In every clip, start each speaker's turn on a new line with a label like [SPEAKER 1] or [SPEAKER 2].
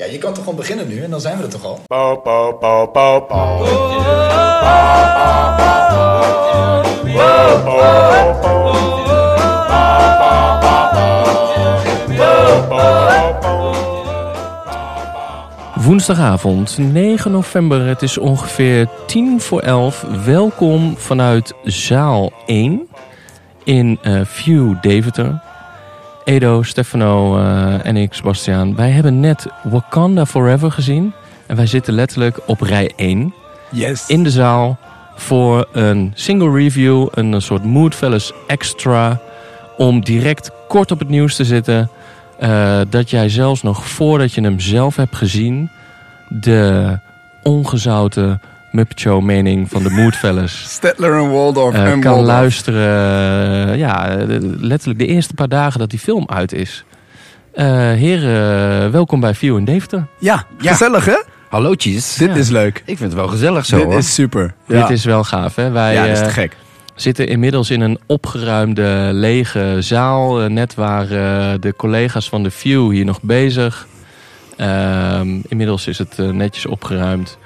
[SPEAKER 1] Ja, je kan toch gewoon beginnen nu en dan zijn we er toch al?
[SPEAKER 2] Bow, bow, bow, bow, bow.
[SPEAKER 3] Woensdagavond, 9 november. Het is ongeveer 10 voor 11. Welkom vanuit zaal 1 in eh, View Deventer. Edo, Stefano eh, en ik, Sebastiaan. Wij hebben net Wakanda Forever gezien. En wij zitten letterlijk op rij 1
[SPEAKER 1] Yes.
[SPEAKER 3] in de zaal voor een single review, een eh, soort Moodfellas extra, om direct kort op het nieuws te zitten. eh, dat jij zelfs nog voordat je hem zelf hebt gezien, de ongezouten Muppet Show mening van de Moodfellas
[SPEAKER 1] Stedler en Waldorf
[SPEAKER 3] eh, kan luisteren. eh, ja, eh, letterlijk de eerste paar dagen dat die film uit is. Eh, heren, welkom bij View in Deventer.
[SPEAKER 4] Ja,
[SPEAKER 1] Ja.
[SPEAKER 4] gezellig hè?
[SPEAKER 5] Hallootjes.
[SPEAKER 4] Dit
[SPEAKER 3] Ja.
[SPEAKER 4] is leuk.
[SPEAKER 5] Ik vind het wel gezellig zo
[SPEAKER 4] Dit
[SPEAKER 5] hoor.
[SPEAKER 4] is super. Ja.
[SPEAKER 3] Dit is wel gaaf, hè? Wij,
[SPEAKER 4] ja, dit is
[SPEAKER 3] eh,
[SPEAKER 4] te gek.
[SPEAKER 3] zitten inmiddels in een opgeruimde, lege zaal. Eh, Net waren eh, de collega's van de View hier nog bezig. Ehm, inmiddels is het eh, netjes opgeruimd.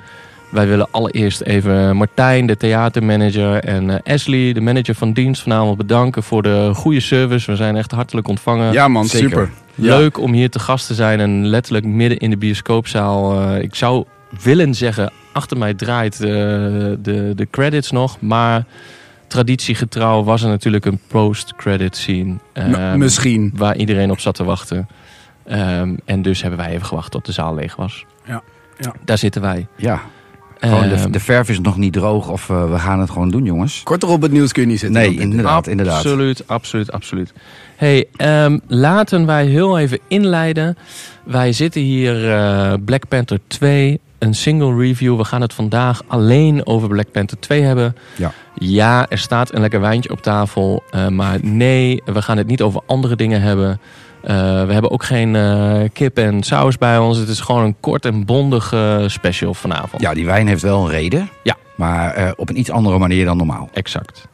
[SPEAKER 3] Wij willen allereerst even Martijn, de theatermanager, en eh, Ashley, de manager van dienst, vanavond bedanken voor de goede service. We zijn echt hartelijk ontvangen.
[SPEAKER 4] Ja man,
[SPEAKER 5] zeker.
[SPEAKER 4] super. Ja.
[SPEAKER 3] Leuk om hier te gast te zijn en letterlijk midden in de bioscoopzaal. eh, ik zou willen zeggen, achter mij draait eh, de, de credits nog. Maar traditiegetrouw was er natuurlijk een post-credit scene.
[SPEAKER 4] M-
[SPEAKER 3] ehm,
[SPEAKER 4] misschien.
[SPEAKER 3] waar iedereen op zat te wachten. Ehm, en dus hebben wij even gewacht tot de zaal leeg was.
[SPEAKER 4] Ja, ja.
[SPEAKER 3] Daar zitten wij.
[SPEAKER 5] Ja, gewoon de,
[SPEAKER 3] Ehm,
[SPEAKER 5] de verf is nog niet droog of eh, we gaan het gewoon doen jongens.
[SPEAKER 4] Korter op het nieuws kun je niet zitten.
[SPEAKER 5] Nee,
[SPEAKER 4] Dat-
[SPEAKER 5] inderdaad, inderdaad.
[SPEAKER 3] Absoluut, absoluut, absoluut. Hey, ehm, laten wij heel even inleiden. Wij zitten hier eh, Black Panther 2, een single review. We gaan het vandaag alleen over Black Panther 2 hebben.
[SPEAKER 5] Ja.
[SPEAKER 3] Ja, er staat een lekker wijntje op tafel. eh, maar nee, we gaan het niet over andere dingen hebben. Eh, we hebben ook geen eh, kip en saus bij ons. Het is gewoon een kort en bondig eh, special vanavond.
[SPEAKER 5] Ja, die wijn heeft wel een reden.
[SPEAKER 3] Ja.
[SPEAKER 5] Maar eh, op een iets andere manier dan normaal.
[SPEAKER 3] Exact.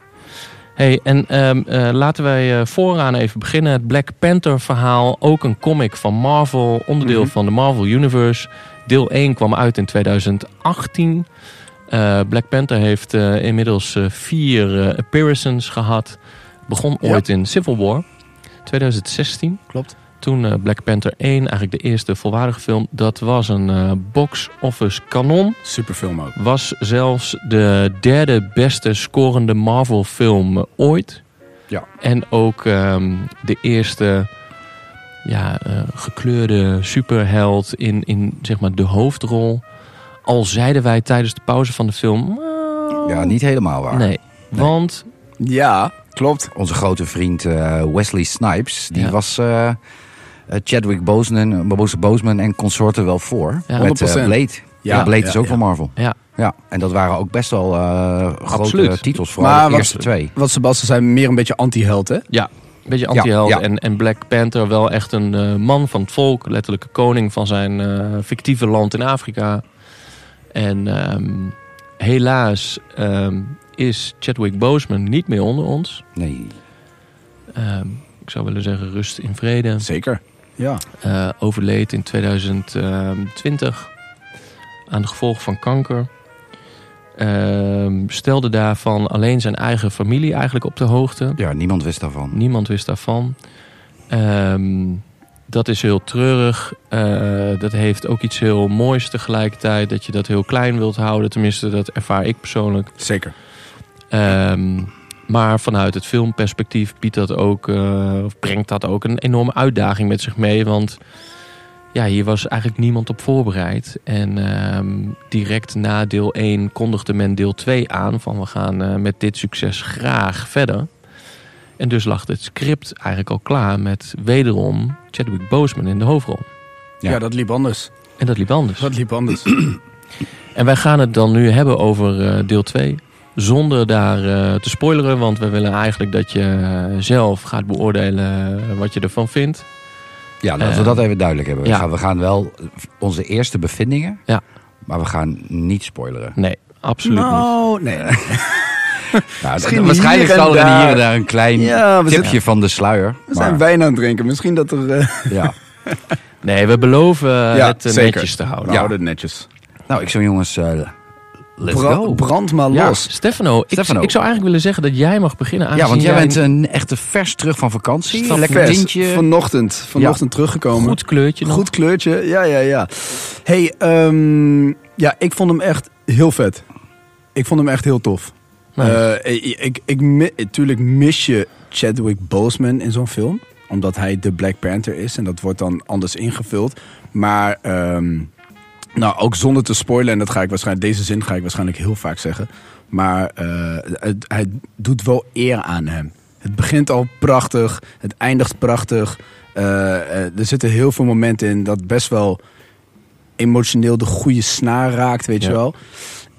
[SPEAKER 3] Hey, en ehm, eh, laten wij eh, vooraan even beginnen. Het Black Panther verhaal, ook een comic van Marvel, onderdeel
[SPEAKER 4] Mhm.
[SPEAKER 3] van de Marvel Universe. Deel 1 kwam uit in 2018. Eh, Black Panther heeft eh, inmiddels eh, vier eh, appearances gehad. Begon
[SPEAKER 4] Ja.
[SPEAKER 3] ooit in Civil War, 2016.
[SPEAKER 4] Klopt.
[SPEAKER 3] Toen eh, Black Panther 1, eigenlijk de eerste volwaardige film. Dat was een eh, box-office kanon.
[SPEAKER 4] Super film ook.
[SPEAKER 3] Was zelfs de derde beste scorende Marvel film ooit.
[SPEAKER 4] Ja.
[SPEAKER 3] En ook ehm, de eerste ja, eh, gekleurde superheld in, in zeg maar, de hoofdrol. Al zeiden wij tijdens de pauze van de film... "Nou,
[SPEAKER 5] Ja, niet helemaal waar.
[SPEAKER 3] Nee, want
[SPEAKER 4] Ja, klopt.
[SPEAKER 5] Onze grote vriend eh, Wesley Snipes, die
[SPEAKER 3] Ja.
[SPEAKER 5] was eh, eh, Chadwick Boseman, Boseman, Boseman en consorten wel voor.
[SPEAKER 3] Ja.
[SPEAKER 5] Met eh,
[SPEAKER 4] 100%.
[SPEAKER 5] Blade. Ja, Blade is ook
[SPEAKER 4] ja.
[SPEAKER 5] van Marvel.
[SPEAKER 3] Ja.
[SPEAKER 5] ja. En dat waren ook best wel eh, grote
[SPEAKER 3] Absoluut.
[SPEAKER 5] titels, vooral
[SPEAKER 4] Maar
[SPEAKER 5] de
[SPEAKER 4] wat-
[SPEAKER 5] eerste twee.
[SPEAKER 4] Wat Sebastian zei, meer een beetje anti-held hè?
[SPEAKER 3] een beetje anti-held.
[SPEAKER 5] Ja, ja.
[SPEAKER 3] En, en Black Panther wel echt een eh, man van het volk. Letterlijke koning van zijn eh, fictieve land in Afrika. En ehm, helaas ehm, is Chadwick Boseman niet meer onder ons.
[SPEAKER 5] Nee.
[SPEAKER 3] Ehm, ik zou willen zeggen rust in vrede.
[SPEAKER 4] Zeker. Ja.
[SPEAKER 3] Eh, overleed in 2020 aan de gevolgen van kanker. Ehm, stelde daarvan alleen zijn eigen familie eigenlijk op de hoogte.
[SPEAKER 5] Ja, niemand wist daarvan.
[SPEAKER 3] Niemand wist daarvan. Ehm, dat is heel treurig. Eh, dat heeft ook iets heel moois tegelijkertijd. Dat je dat heel klein wilt houden. Tenminste, dat ervaar ik persoonlijk.
[SPEAKER 4] Zeker.
[SPEAKER 3] Ehm, maar vanuit het filmperspectief biedt dat ook, eh, of brengt dat ook een enorme uitdaging met zich mee. Want ja, hier was eigenlijk niemand op voorbereid. En ehm, direct na deel 1 kondigde men deel 2 aan. Van we gaan eh, met dit succes graag verder. En dus lag het script eigenlijk al klaar met wederom Chadwick Boseman in de hoofdrol.
[SPEAKER 4] Ja.
[SPEAKER 5] Ja.
[SPEAKER 4] dat liep anders.
[SPEAKER 3] En dat liep anders.
[SPEAKER 4] Dat liep anders.
[SPEAKER 3] En wij gaan het dan nu hebben over eh, deel 2. Zonder daar eh, te spoileren, want we willen eigenlijk dat je eh, zelf gaat beoordelen wat je ervan vindt.
[SPEAKER 5] Ja, laten we
[SPEAKER 3] Eh,
[SPEAKER 5] dat even duidelijk hebben.
[SPEAKER 3] ja.
[SPEAKER 5] We, gaan, we gaan wel onze eerste bevindingen,
[SPEAKER 3] Ja.
[SPEAKER 5] maar we gaan niet spoileren.
[SPEAKER 3] Nee, absoluut niet.
[SPEAKER 4] nou, nee.
[SPEAKER 5] Nou,
[SPEAKER 4] Misschien
[SPEAKER 5] d- waarschijnlijk
[SPEAKER 4] hier en
[SPEAKER 5] zal er
[SPEAKER 4] daar.
[SPEAKER 5] hier en daar een klein
[SPEAKER 4] Ja, we
[SPEAKER 5] tipje van de sluier.
[SPEAKER 4] We zijn
[SPEAKER 5] maar,
[SPEAKER 4] wijn aan het drinken. Misschien dat er... eh,
[SPEAKER 5] ja.
[SPEAKER 3] Nee, we beloven eh,
[SPEAKER 4] Ja,
[SPEAKER 3] het eh,
[SPEAKER 4] zeker.
[SPEAKER 3] netjes te houden.
[SPEAKER 4] We Oh, houden het netjes.
[SPEAKER 5] Nou, ik zou jongens, eh, let's
[SPEAKER 4] Bra-
[SPEAKER 5] go.
[SPEAKER 4] brand maar
[SPEAKER 3] Ja,
[SPEAKER 4] los.
[SPEAKER 3] Stefano, ik,
[SPEAKER 5] Stefano.
[SPEAKER 3] ik zou eigenlijk willen zeggen dat jij mag beginnen.
[SPEAKER 5] ja,
[SPEAKER 3] aangezien
[SPEAKER 5] want jij bent een echte vers terug van vakantie.
[SPEAKER 3] Stap
[SPEAKER 5] Lekker
[SPEAKER 4] Vers,
[SPEAKER 5] tintje.
[SPEAKER 4] Vanochtend, vanochtend teruggekomen.
[SPEAKER 3] een goed kleurtje nog.
[SPEAKER 4] eh, Goed kleurtje, ja, ja, ja. hey, ehm, ja, ik vond hem echt heel vet. Ik vond hem echt heel tof.
[SPEAKER 3] Nice.
[SPEAKER 4] Eh, ik, ik, ik, mi- natuurlijk mis je Chadwick Boseman in zo'n film. Omdat hij de Black Panther is en dat wordt dan anders ingevuld. Maar, ehm, nou, ook zonder te spoilen, en dat ga ik waarschijnlijk, deze zin ga ik waarschijnlijk heel vaak zeggen. Maar eh, het- hij doet wel eer aan hem. Het begint al prachtig, het eindigt prachtig. Eh, eh, er zitten heel veel momenten in dat best wel emotioneel de goede snaar raakt, weet
[SPEAKER 3] Ja.
[SPEAKER 4] je wel.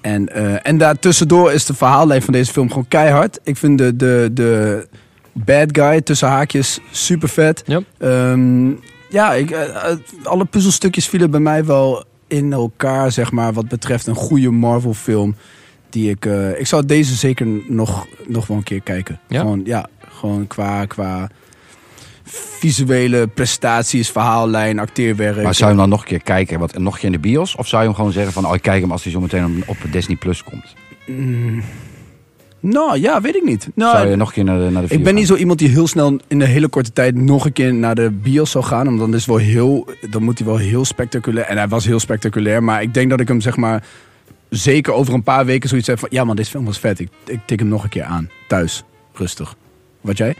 [SPEAKER 4] En, eh en daartussendoor is de verhaallijn van deze film gewoon keihard. Ik vind de, de, de bad guy tussen haakjes super vet. Ehm,
[SPEAKER 3] Ja.
[SPEAKER 4] ja, ik, eh, eh, alle puzzelstukjes vielen bij mij wel in elkaar, zeg maar, wat betreft een goede Marvel film. Die ik, eh, ik zou deze zeker nog, nog wel een keer kijken.
[SPEAKER 3] Ja?
[SPEAKER 4] Gewoon, ja, gewoon qua, qua visuele prestaties, verhaallijn, acteerwerk.
[SPEAKER 5] Maar zou je hem dan nog een keer kijken? Want, nog een keer in de bios? Of zou je hem gewoon zeggen van... Oh, ik kijk hem als hij zometeen op Disney Plus komt.
[SPEAKER 4] Oh, Nou ja, weet ik niet. Nou,
[SPEAKER 5] Zou je nog een keer naar de, naar de
[SPEAKER 4] Ik ben niet zo iemand die heel snel in een hele korte tijd nog een keer naar de bios zou gaan. Omdat dan, is wel heel, dan moet hij wel heel spectaculair. En hij was heel spectaculair. Maar ik denk dat ik hem zeg maar zeker over een paar weken zoiets heb van... Ja man, deze film was vet. Ik, ik tik hem nog een keer aan. Thuis. Rustig. Wat jij?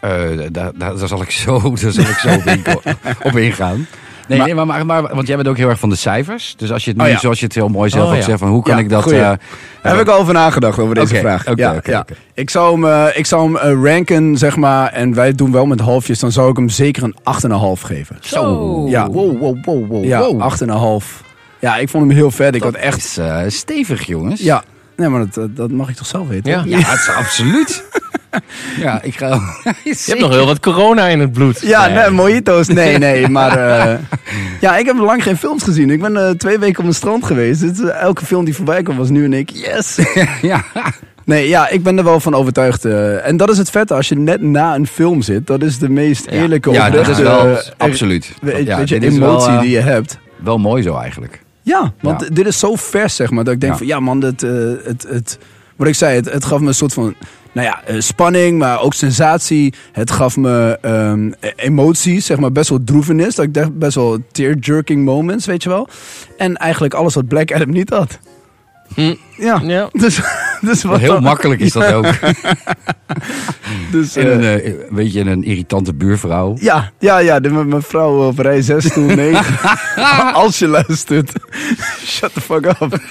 [SPEAKER 5] Eh, daar, daar, daar zal ik zo, daar zal ik zo op, inko- op ingaan. Nee,
[SPEAKER 4] Maar-
[SPEAKER 5] nee maar, maar, maar- want jij bent ook heel erg van de cijfers. Dus als je het nu,
[SPEAKER 4] Oh ja.
[SPEAKER 5] zoals je het heel mooi zelf
[SPEAKER 3] Oh
[SPEAKER 5] hebt
[SPEAKER 3] ja.
[SPEAKER 5] zegt, van hoe kan
[SPEAKER 4] Ja,
[SPEAKER 5] ik dat...
[SPEAKER 4] goeie.
[SPEAKER 5] eh,
[SPEAKER 4] Daar heb
[SPEAKER 5] eh,
[SPEAKER 4] ik al over nagedacht over deze
[SPEAKER 5] Oké,
[SPEAKER 4] vraag.
[SPEAKER 5] oké,
[SPEAKER 4] ja,
[SPEAKER 5] oké,
[SPEAKER 4] ja.
[SPEAKER 5] oké.
[SPEAKER 4] Ik zou hem, eh, ik zou hem eh, ranken, zeg maar. En wij doen wel met halfjes. Dan zou ik hem zeker een 8,5 geven.
[SPEAKER 5] Zo.
[SPEAKER 4] Ja.
[SPEAKER 5] Wow, wow, wow, wow.
[SPEAKER 4] Ja,
[SPEAKER 5] wow.
[SPEAKER 4] 8,5. Ja, ik vond hem heel vet. Ik
[SPEAKER 5] dat
[SPEAKER 4] had echt...
[SPEAKER 5] is eh, stevig, jongens.
[SPEAKER 4] Ja, nee, maar dat, dat mag ik toch zelf weten?
[SPEAKER 3] Ja.
[SPEAKER 5] Ja, het is absoluut. ja, ik ga...
[SPEAKER 3] Je hebt nog heel wat corona in het bloed.
[SPEAKER 4] Ja, nee, mojito's, nee, nee. Maar eh, ja, ik heb lang geen films gezien. Ik ben eh, twee weken op een strand geweest. Dus, eh, elke film die voorbij kwam was nu en ik, yes!
[SPEAKER 5] ja.
[SPEAKER 4] Nee, ja, ik ben er wel van overtuigd. eh, en dat is het vette, als je net na een film zit. Dat is de meest eerlijke,
[SPEAKER 5] ja, dat is
[SPEAKER 4] oprechte,
[SPEAKER 5] wel...
[SPEAKER 4] eh,
[SPEAKER 5] absoluut.
[SPEAKER 4] weet,
[SPEAKER 5] ja,
[SPEAKER 4] weet je,
[SPEAKER 5] dit is
[SPEAKER 4] emotie
[SPEAKER 5] wel, eh,
[SPEAKER 4] die je hebt.
[SPEAKER 5] Wel mooi zo eigenlijk.
[SPEAKER 4] Ja, want
[SPEAKER 5] Ja.
[SPEAKER 4] dit is zo vers, zeg maar. Dat ik denk
[SPEAKER 5] Ja.
[SPEAKER 4] van, ja man, dat, eh, het, het, wat ik zei, het, het gaf me een soort van... Nou ja, eh, spanning, maar ook sensatie. Het gaf me ehm, e- emoties, zeg maar, best wel droevenis. Dat ik dacht, best wel tear-jerking moments, weet je wel. En eigenlijk alles wat Black Adam niet had.
[SPEAKER 3] Hm.
[SPEAKER 4] Ja,
[SPEAKER 3] Ja.
[SPEAKER 4] dus... dus wat
[SPEAKER 5] Heel
[SPEAKER 4] dan-
[SPEAKER 5] makkelijk is dat ook.
[SPEAKER 4] Dus,
[SPEAKER 5] In
[SPEAKER 4] eh,
[SPEAKER 5] een, eh, weet je, in een irritante buurvrouw.
[SPEAKER 4] ja, ja, ja, de, mijn vrouw op rij 6, toen 9. Als je luistert, shut the fuck up.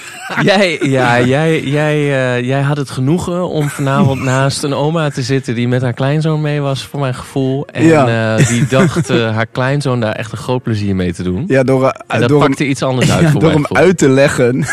[SPEAKER 3] Jij, ja, jij, jij, eh, jij had het genoegen om vanavond naast een oma te zitten die met haar kleinzoon mee was, voor mijn gevoel. En
[SPEAKER 4] Ja.
[SPEAKER 3] eh, die dacht eh, haar kleinzoon daar echt een groot plezier mee te doen.
[SPEAKER 4] Ja, door,
[SPEAKER 3] en
[SPEAKER 4] eh,
[SPEAKER 3] dat
[SPEAKER 4] door hem
[SPEAKER 3] pakte iets anders uit
[SPEAKER 4] Ja,
[SPEAKER 3] voor
[SPEAKER 4] door
[SPEAKER 3] mijn
[SPEAKER 4] hem
[SPEAKER 3] gevoel.
[SPEAKER 4] uit te leggen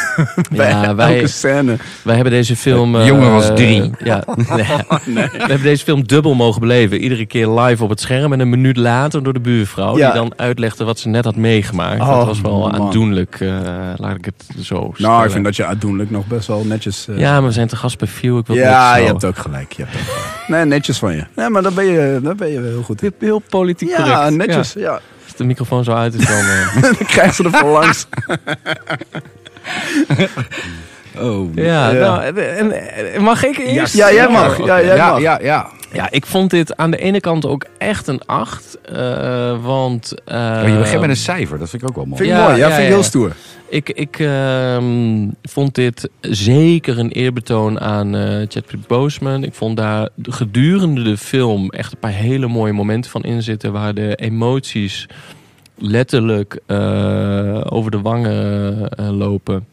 [SPEAKER 4] bij
[SPEAKER 3] Ja,
[SPEAKER 4] elke
[SPEAKER 3] wij,
[SPEAKER 4] scène. Nou,
[SPEAKER 3] wij hebben deze film...
[SPEAKER 5] De
[SPEAKER 3] eh,
[SPEAKER 5] jongen was drie.
[SPEAKER 3] ja,
[SPEAKER 4] Oh,
[SPEAKER 3] We hebben deze film dubbel mogen beleven. Iedere keer live op het scherm en een minuut later door de buurvrouw...
[SPEAKER 4] Ja.
[SPEAKER 3] die dan uitlegde wat ze net had meegemaakt. dat
[SPEAKER 4] Oh,
[SPEAKER 3] was wel
[SPEAKER 4] man.
[SPEAKER 3] aandoenlijk, eh, laat ik het zo
[SPEAKER 4] Nou,
[SPEAKER 3] stellen.
[SPEAKER 4] ik vind dat je aandoenlijk nog best wel netjes... eh,
[SPEAKER 3] Ja, maar we zijn te gast bij View. Ik wil
[SPEAKER 4] ja,
[SPEAKER 3] niks
[SPEAKER 4] je
[SPEAKER 3] zo-
[SPEAKER 4] hebt ook gelijk. Je hebt ook gelijk. Nee, netjes van je. Nee, maar daar ben je, daar ben je wel heel goed in.
[SPEAKER 3] Heel politiek
[SPEAKER 4] Ja,
[SPEAKER 3] correct.
[SPEAKER 4] netjes. Ja.
[SPEAKER 3] Ja, als de microfoon zo uit is dan... eh,
[SPEAKER 4] Dan krijg ze er voor langs.
[SPEAKER 5] Oh.
[SPEAKER 3] ja,
[SPEAKER 4] Ja.
[SPEAKER 3] nou, en- en- en mag ik eerst?
[SPEAKER 4] Ja, jij mag.
[SPEAKER 3] oké.
[SPEAKER 4] Ja, jij
[SPEAKER 5] Ja,
[SPEAKER 4] mag.
[SPEAKER 5] ja, ja. Oh,
[SPEAKER 3] Ja, ik vond dit aan de ene kant ook echt een 8. eh, want... eh,
[SPEAKER 5] Oh, je begint met een cijfer, dat vind ik ook wel mooi.
[SPEAKER 4] Vind ik
[SPEAKER 3] Ja,
[SPEAKER 4] mooi. Ja,
[SPEAKER 3] ja,
[SPEAKER 4] vind ik
[SPEAKER 3] ja.
[SPEAKER 4] heel stoer.
[SPEAKER 3] Ik, ik ehm, vond dit zeker een eerbetoon aan eh Chadwick Boseman. Ik vond daar gedurende de film echt een paar hele mooie momenten van in zitten... waar de emoties letterlijk eh, over de wangen eh, lopen.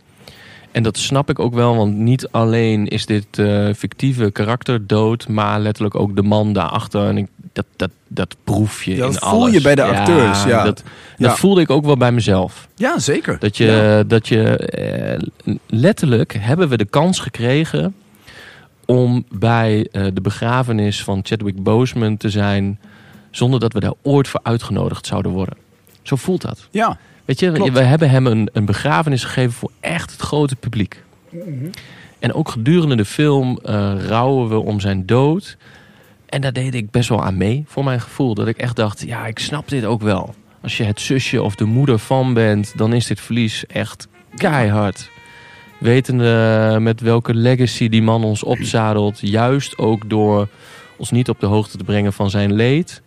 [SPEAKER 3] En dat snap ik ook wel, want niet alleen is dit eh, fictieve karakter dood... maar letterlijk ook de man daarachter. En ik, dat, dat, dat proef je
[SPEAKER 4] Ja, dat
[SPEAKER 3] in
[SPEAKER 4] voel je
[SPEAKER 3] alles.
[SPEAKER 4] bij de acteurs, ja.
[SPEAKER 3] Dat,
[SPEAKER 4] Ja.
[SPEAKER 3] dat voelde ik ook wel bij mezelf.
[SPEAKER 4] Ja, zeker.
[SPEAKER 3] Dat je, dat je eh, letterlijk hebben we de kans gekregen om bij eh, de begrafenis van Chadwick Boseman te zijn, zonder dat we daar ooit voor uitgenodigd zouden worden. Zo voelt dat.
[SPEAKER 4] Ja.
[SPEAKER 3] Weet je,
[SPEAKER 4] Klopt.
[SPEAKER 3] we hebben hem een, een begrafenis gegeven voor echt het grote publiek. En ook gedurende de film eh rouwen we om zijn dood. En daar deed ik best wel aan mee, voor mijn gevoel. Dat ik echt dacht, ja, ik snap dit ook wel. Als je het zusje of de moeder van bent, dan is dit verlies echt keihard. Wetende met welke legacy die man ons opzadelt, juist ook door ons niet op de hoogte te brengen van zijn leed.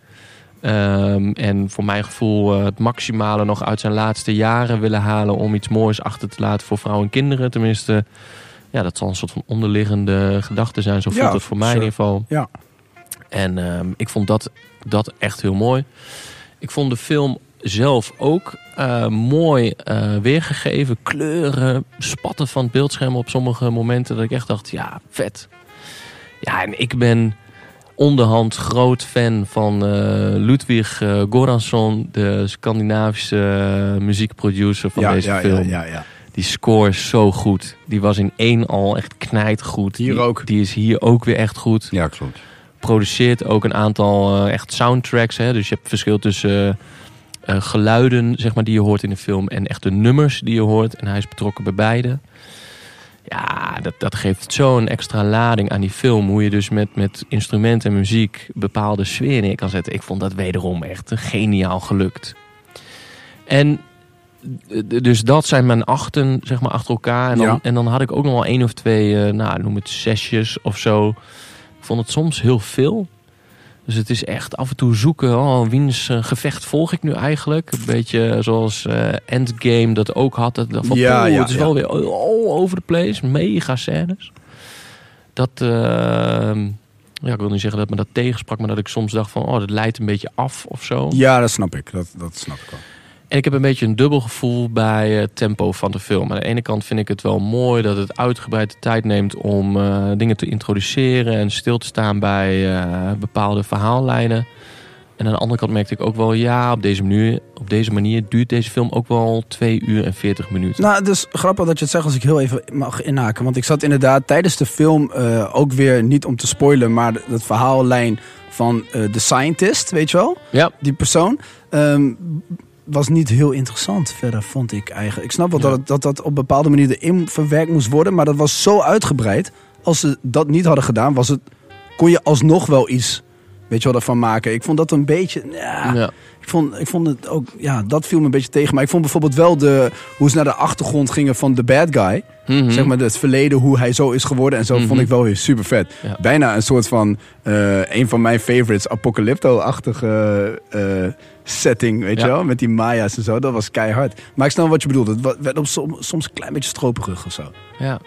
[SPEAKER 3] Ehm, en voor mijn gevoel eh, het maximale nog uit zijn laatste jaren willen halen om iets moois achter te laten voor vrouwen en kinderen. Tenminste, ja, dat zal een soort van onderliggende gedachte zijn, zo voelt
[SPEAKER 4] Ja,
[SPEAKER 3] het voor mij in
[SPEAKER 4] sure.
[SPEAKER 3] ieder geval.
[SPEAKER 4] Ja.
[SPEAKER 3] En ehm, ik vond dat, dat echt heel mooi. Ik vond de film zelf ook eh, mooi eh, weergegeven. Kleuren, spatten van het beeldscherm op sommige momenten. Dat ik echt dacht, ja, vet. Ja, en ik ben onderhand groot fan van eh, Ludwig eh, Goransson... de Scandinavische eh, muziekproducer van
[SPEAKER 4] ja,
[SPEAKER 3] deze
[SPEAKER 4] ja,
[SPEAKER 3] film.
[SPEAKER 4] ja, ja, ja.
[SPEAKER 3] Die score is zo goed. Die was in één al echt knijtgoed.
[SPEAKER 4] Hier
[SPEAKER 3] die,
[SPEAKER 4] ook.
[SPEAKER 3] Die is hier ook weer echt goed
[SPEAKER 5] Ja, klopt.
[SPEAKER 3] produceert ook een aantal eh, echt soundtracks. Hè? Dus je hebt verschil tussen eh, eh, geluiden zeg maar, die je hoort in de film en echt de nummers die je hoort. En hij is betrokken bij beide. Ja, dat, dat geeft zo'n extra lading aan die film. Hoe je dus met, met instrumenten en muziek bepaalde sfeer neer kan zetten. Ik vond dat wederom echt geniaal gelukt. En eh, d- dus dat zijn mijn achten, zeg maar, achter elkaar. En dan,
[SPEAKER 4] Ja.
[SPEAKER 3] en dan had ik ook nog wel één of twee, eh, nou, noem het zesjes of zo. Ik vond het soms heel veel. Dus het is echt af en toe zoeken, oh, wiens eh, gevecht volg ik nu eigenlijk? Een beetje zoals eh, Endgame dat ook had. Dat, dat van,
[SPEAKER 4] Ja,
[SPEAKER 3] oh,
[SPEAKER 4] ja,
[SPEAKER 3] het is
[SPEAKER 4] ja.
[SPEAKER 3] wel weer all over the place. Mega scènes. Dat, eh, ja, ik wil niet zeggen dat me dat tegensprak, maar dat ik soms dacht van, oh, dat leidt een beetje af of zo.
[SPEAKER 4] Ja, dat snap ik. Dat, dat snap ik wel.
[SPEAKER 3] En ik heb een beetje een dubbel gevoel bij eh, het tempo van de film. Aan de ene kant vind ik het wel mooi dat het uitgebreid de tijd neemt om eh, dingen te introduceren en stil te staan bij eh, bepaalde verhaallijnen. En aan de andere kant merkte ik ook wel, ja, op deze manier, op deze manier duurt deze film ook wel 2 uur en 40 minuten.
[SPEAKER 4] Nou, het is grappig dat je het zegt als ik heel even mag inhaken. Want ik zat inderdaad tijdens de film eh, ook weer, niet om te spoilen, maar de- dat verhaallijn van eh The Scientist, weet je wel?
[SPEAKER 3] ja,
[SPEAKER 4] Die persoon. ehm, was niet heel interessant verder, vond ik eigenlijk. Ik snap wel
[SPEAKER 3] Ja.
[SPEAKER 4] dat, het- dat dat op bepaalde manier erin verwerkt moest worden. Maar dat was zo uitgebreid. Als ze dat niet hadden gedaan, was het, kon je alsnog wel iets, weet je wel, ervan maken. Ik vond dat een beetje... ja.
[SPEAKER 3] Ah. ja.
[SPEAKER 4] Ik vond, ik vond het ook, ja, dat viel me een beetje tegen. Maar ik vond bijvoorbeeld wel de, hoe ze naar de achtergrond gingen van de bad guy.
[SPEAKER 3] Mhm.
[SPEAKER 4] Zeg maar het verleden, hoe hij zo is geworden en zo,
[SPEAKER 3] Mhm.
[SPEAKER 4] vond ik wel weer super vet.
[SPEAKER 3] Ja.
[SPEAKER 4] Bijna een soort van, eh, een van mijn favorites, apocalypto-achtige eh, setting, weet
[SPEAKER 3] Ja.
[SPEAKER 4] je wel? Met die Maya's en zo, dat was keihard. Maar ik snap wat je bedoelt, het wa- werd op som- soms een klein beetje stroperig of zo.
[SPEAKER 3] Ja.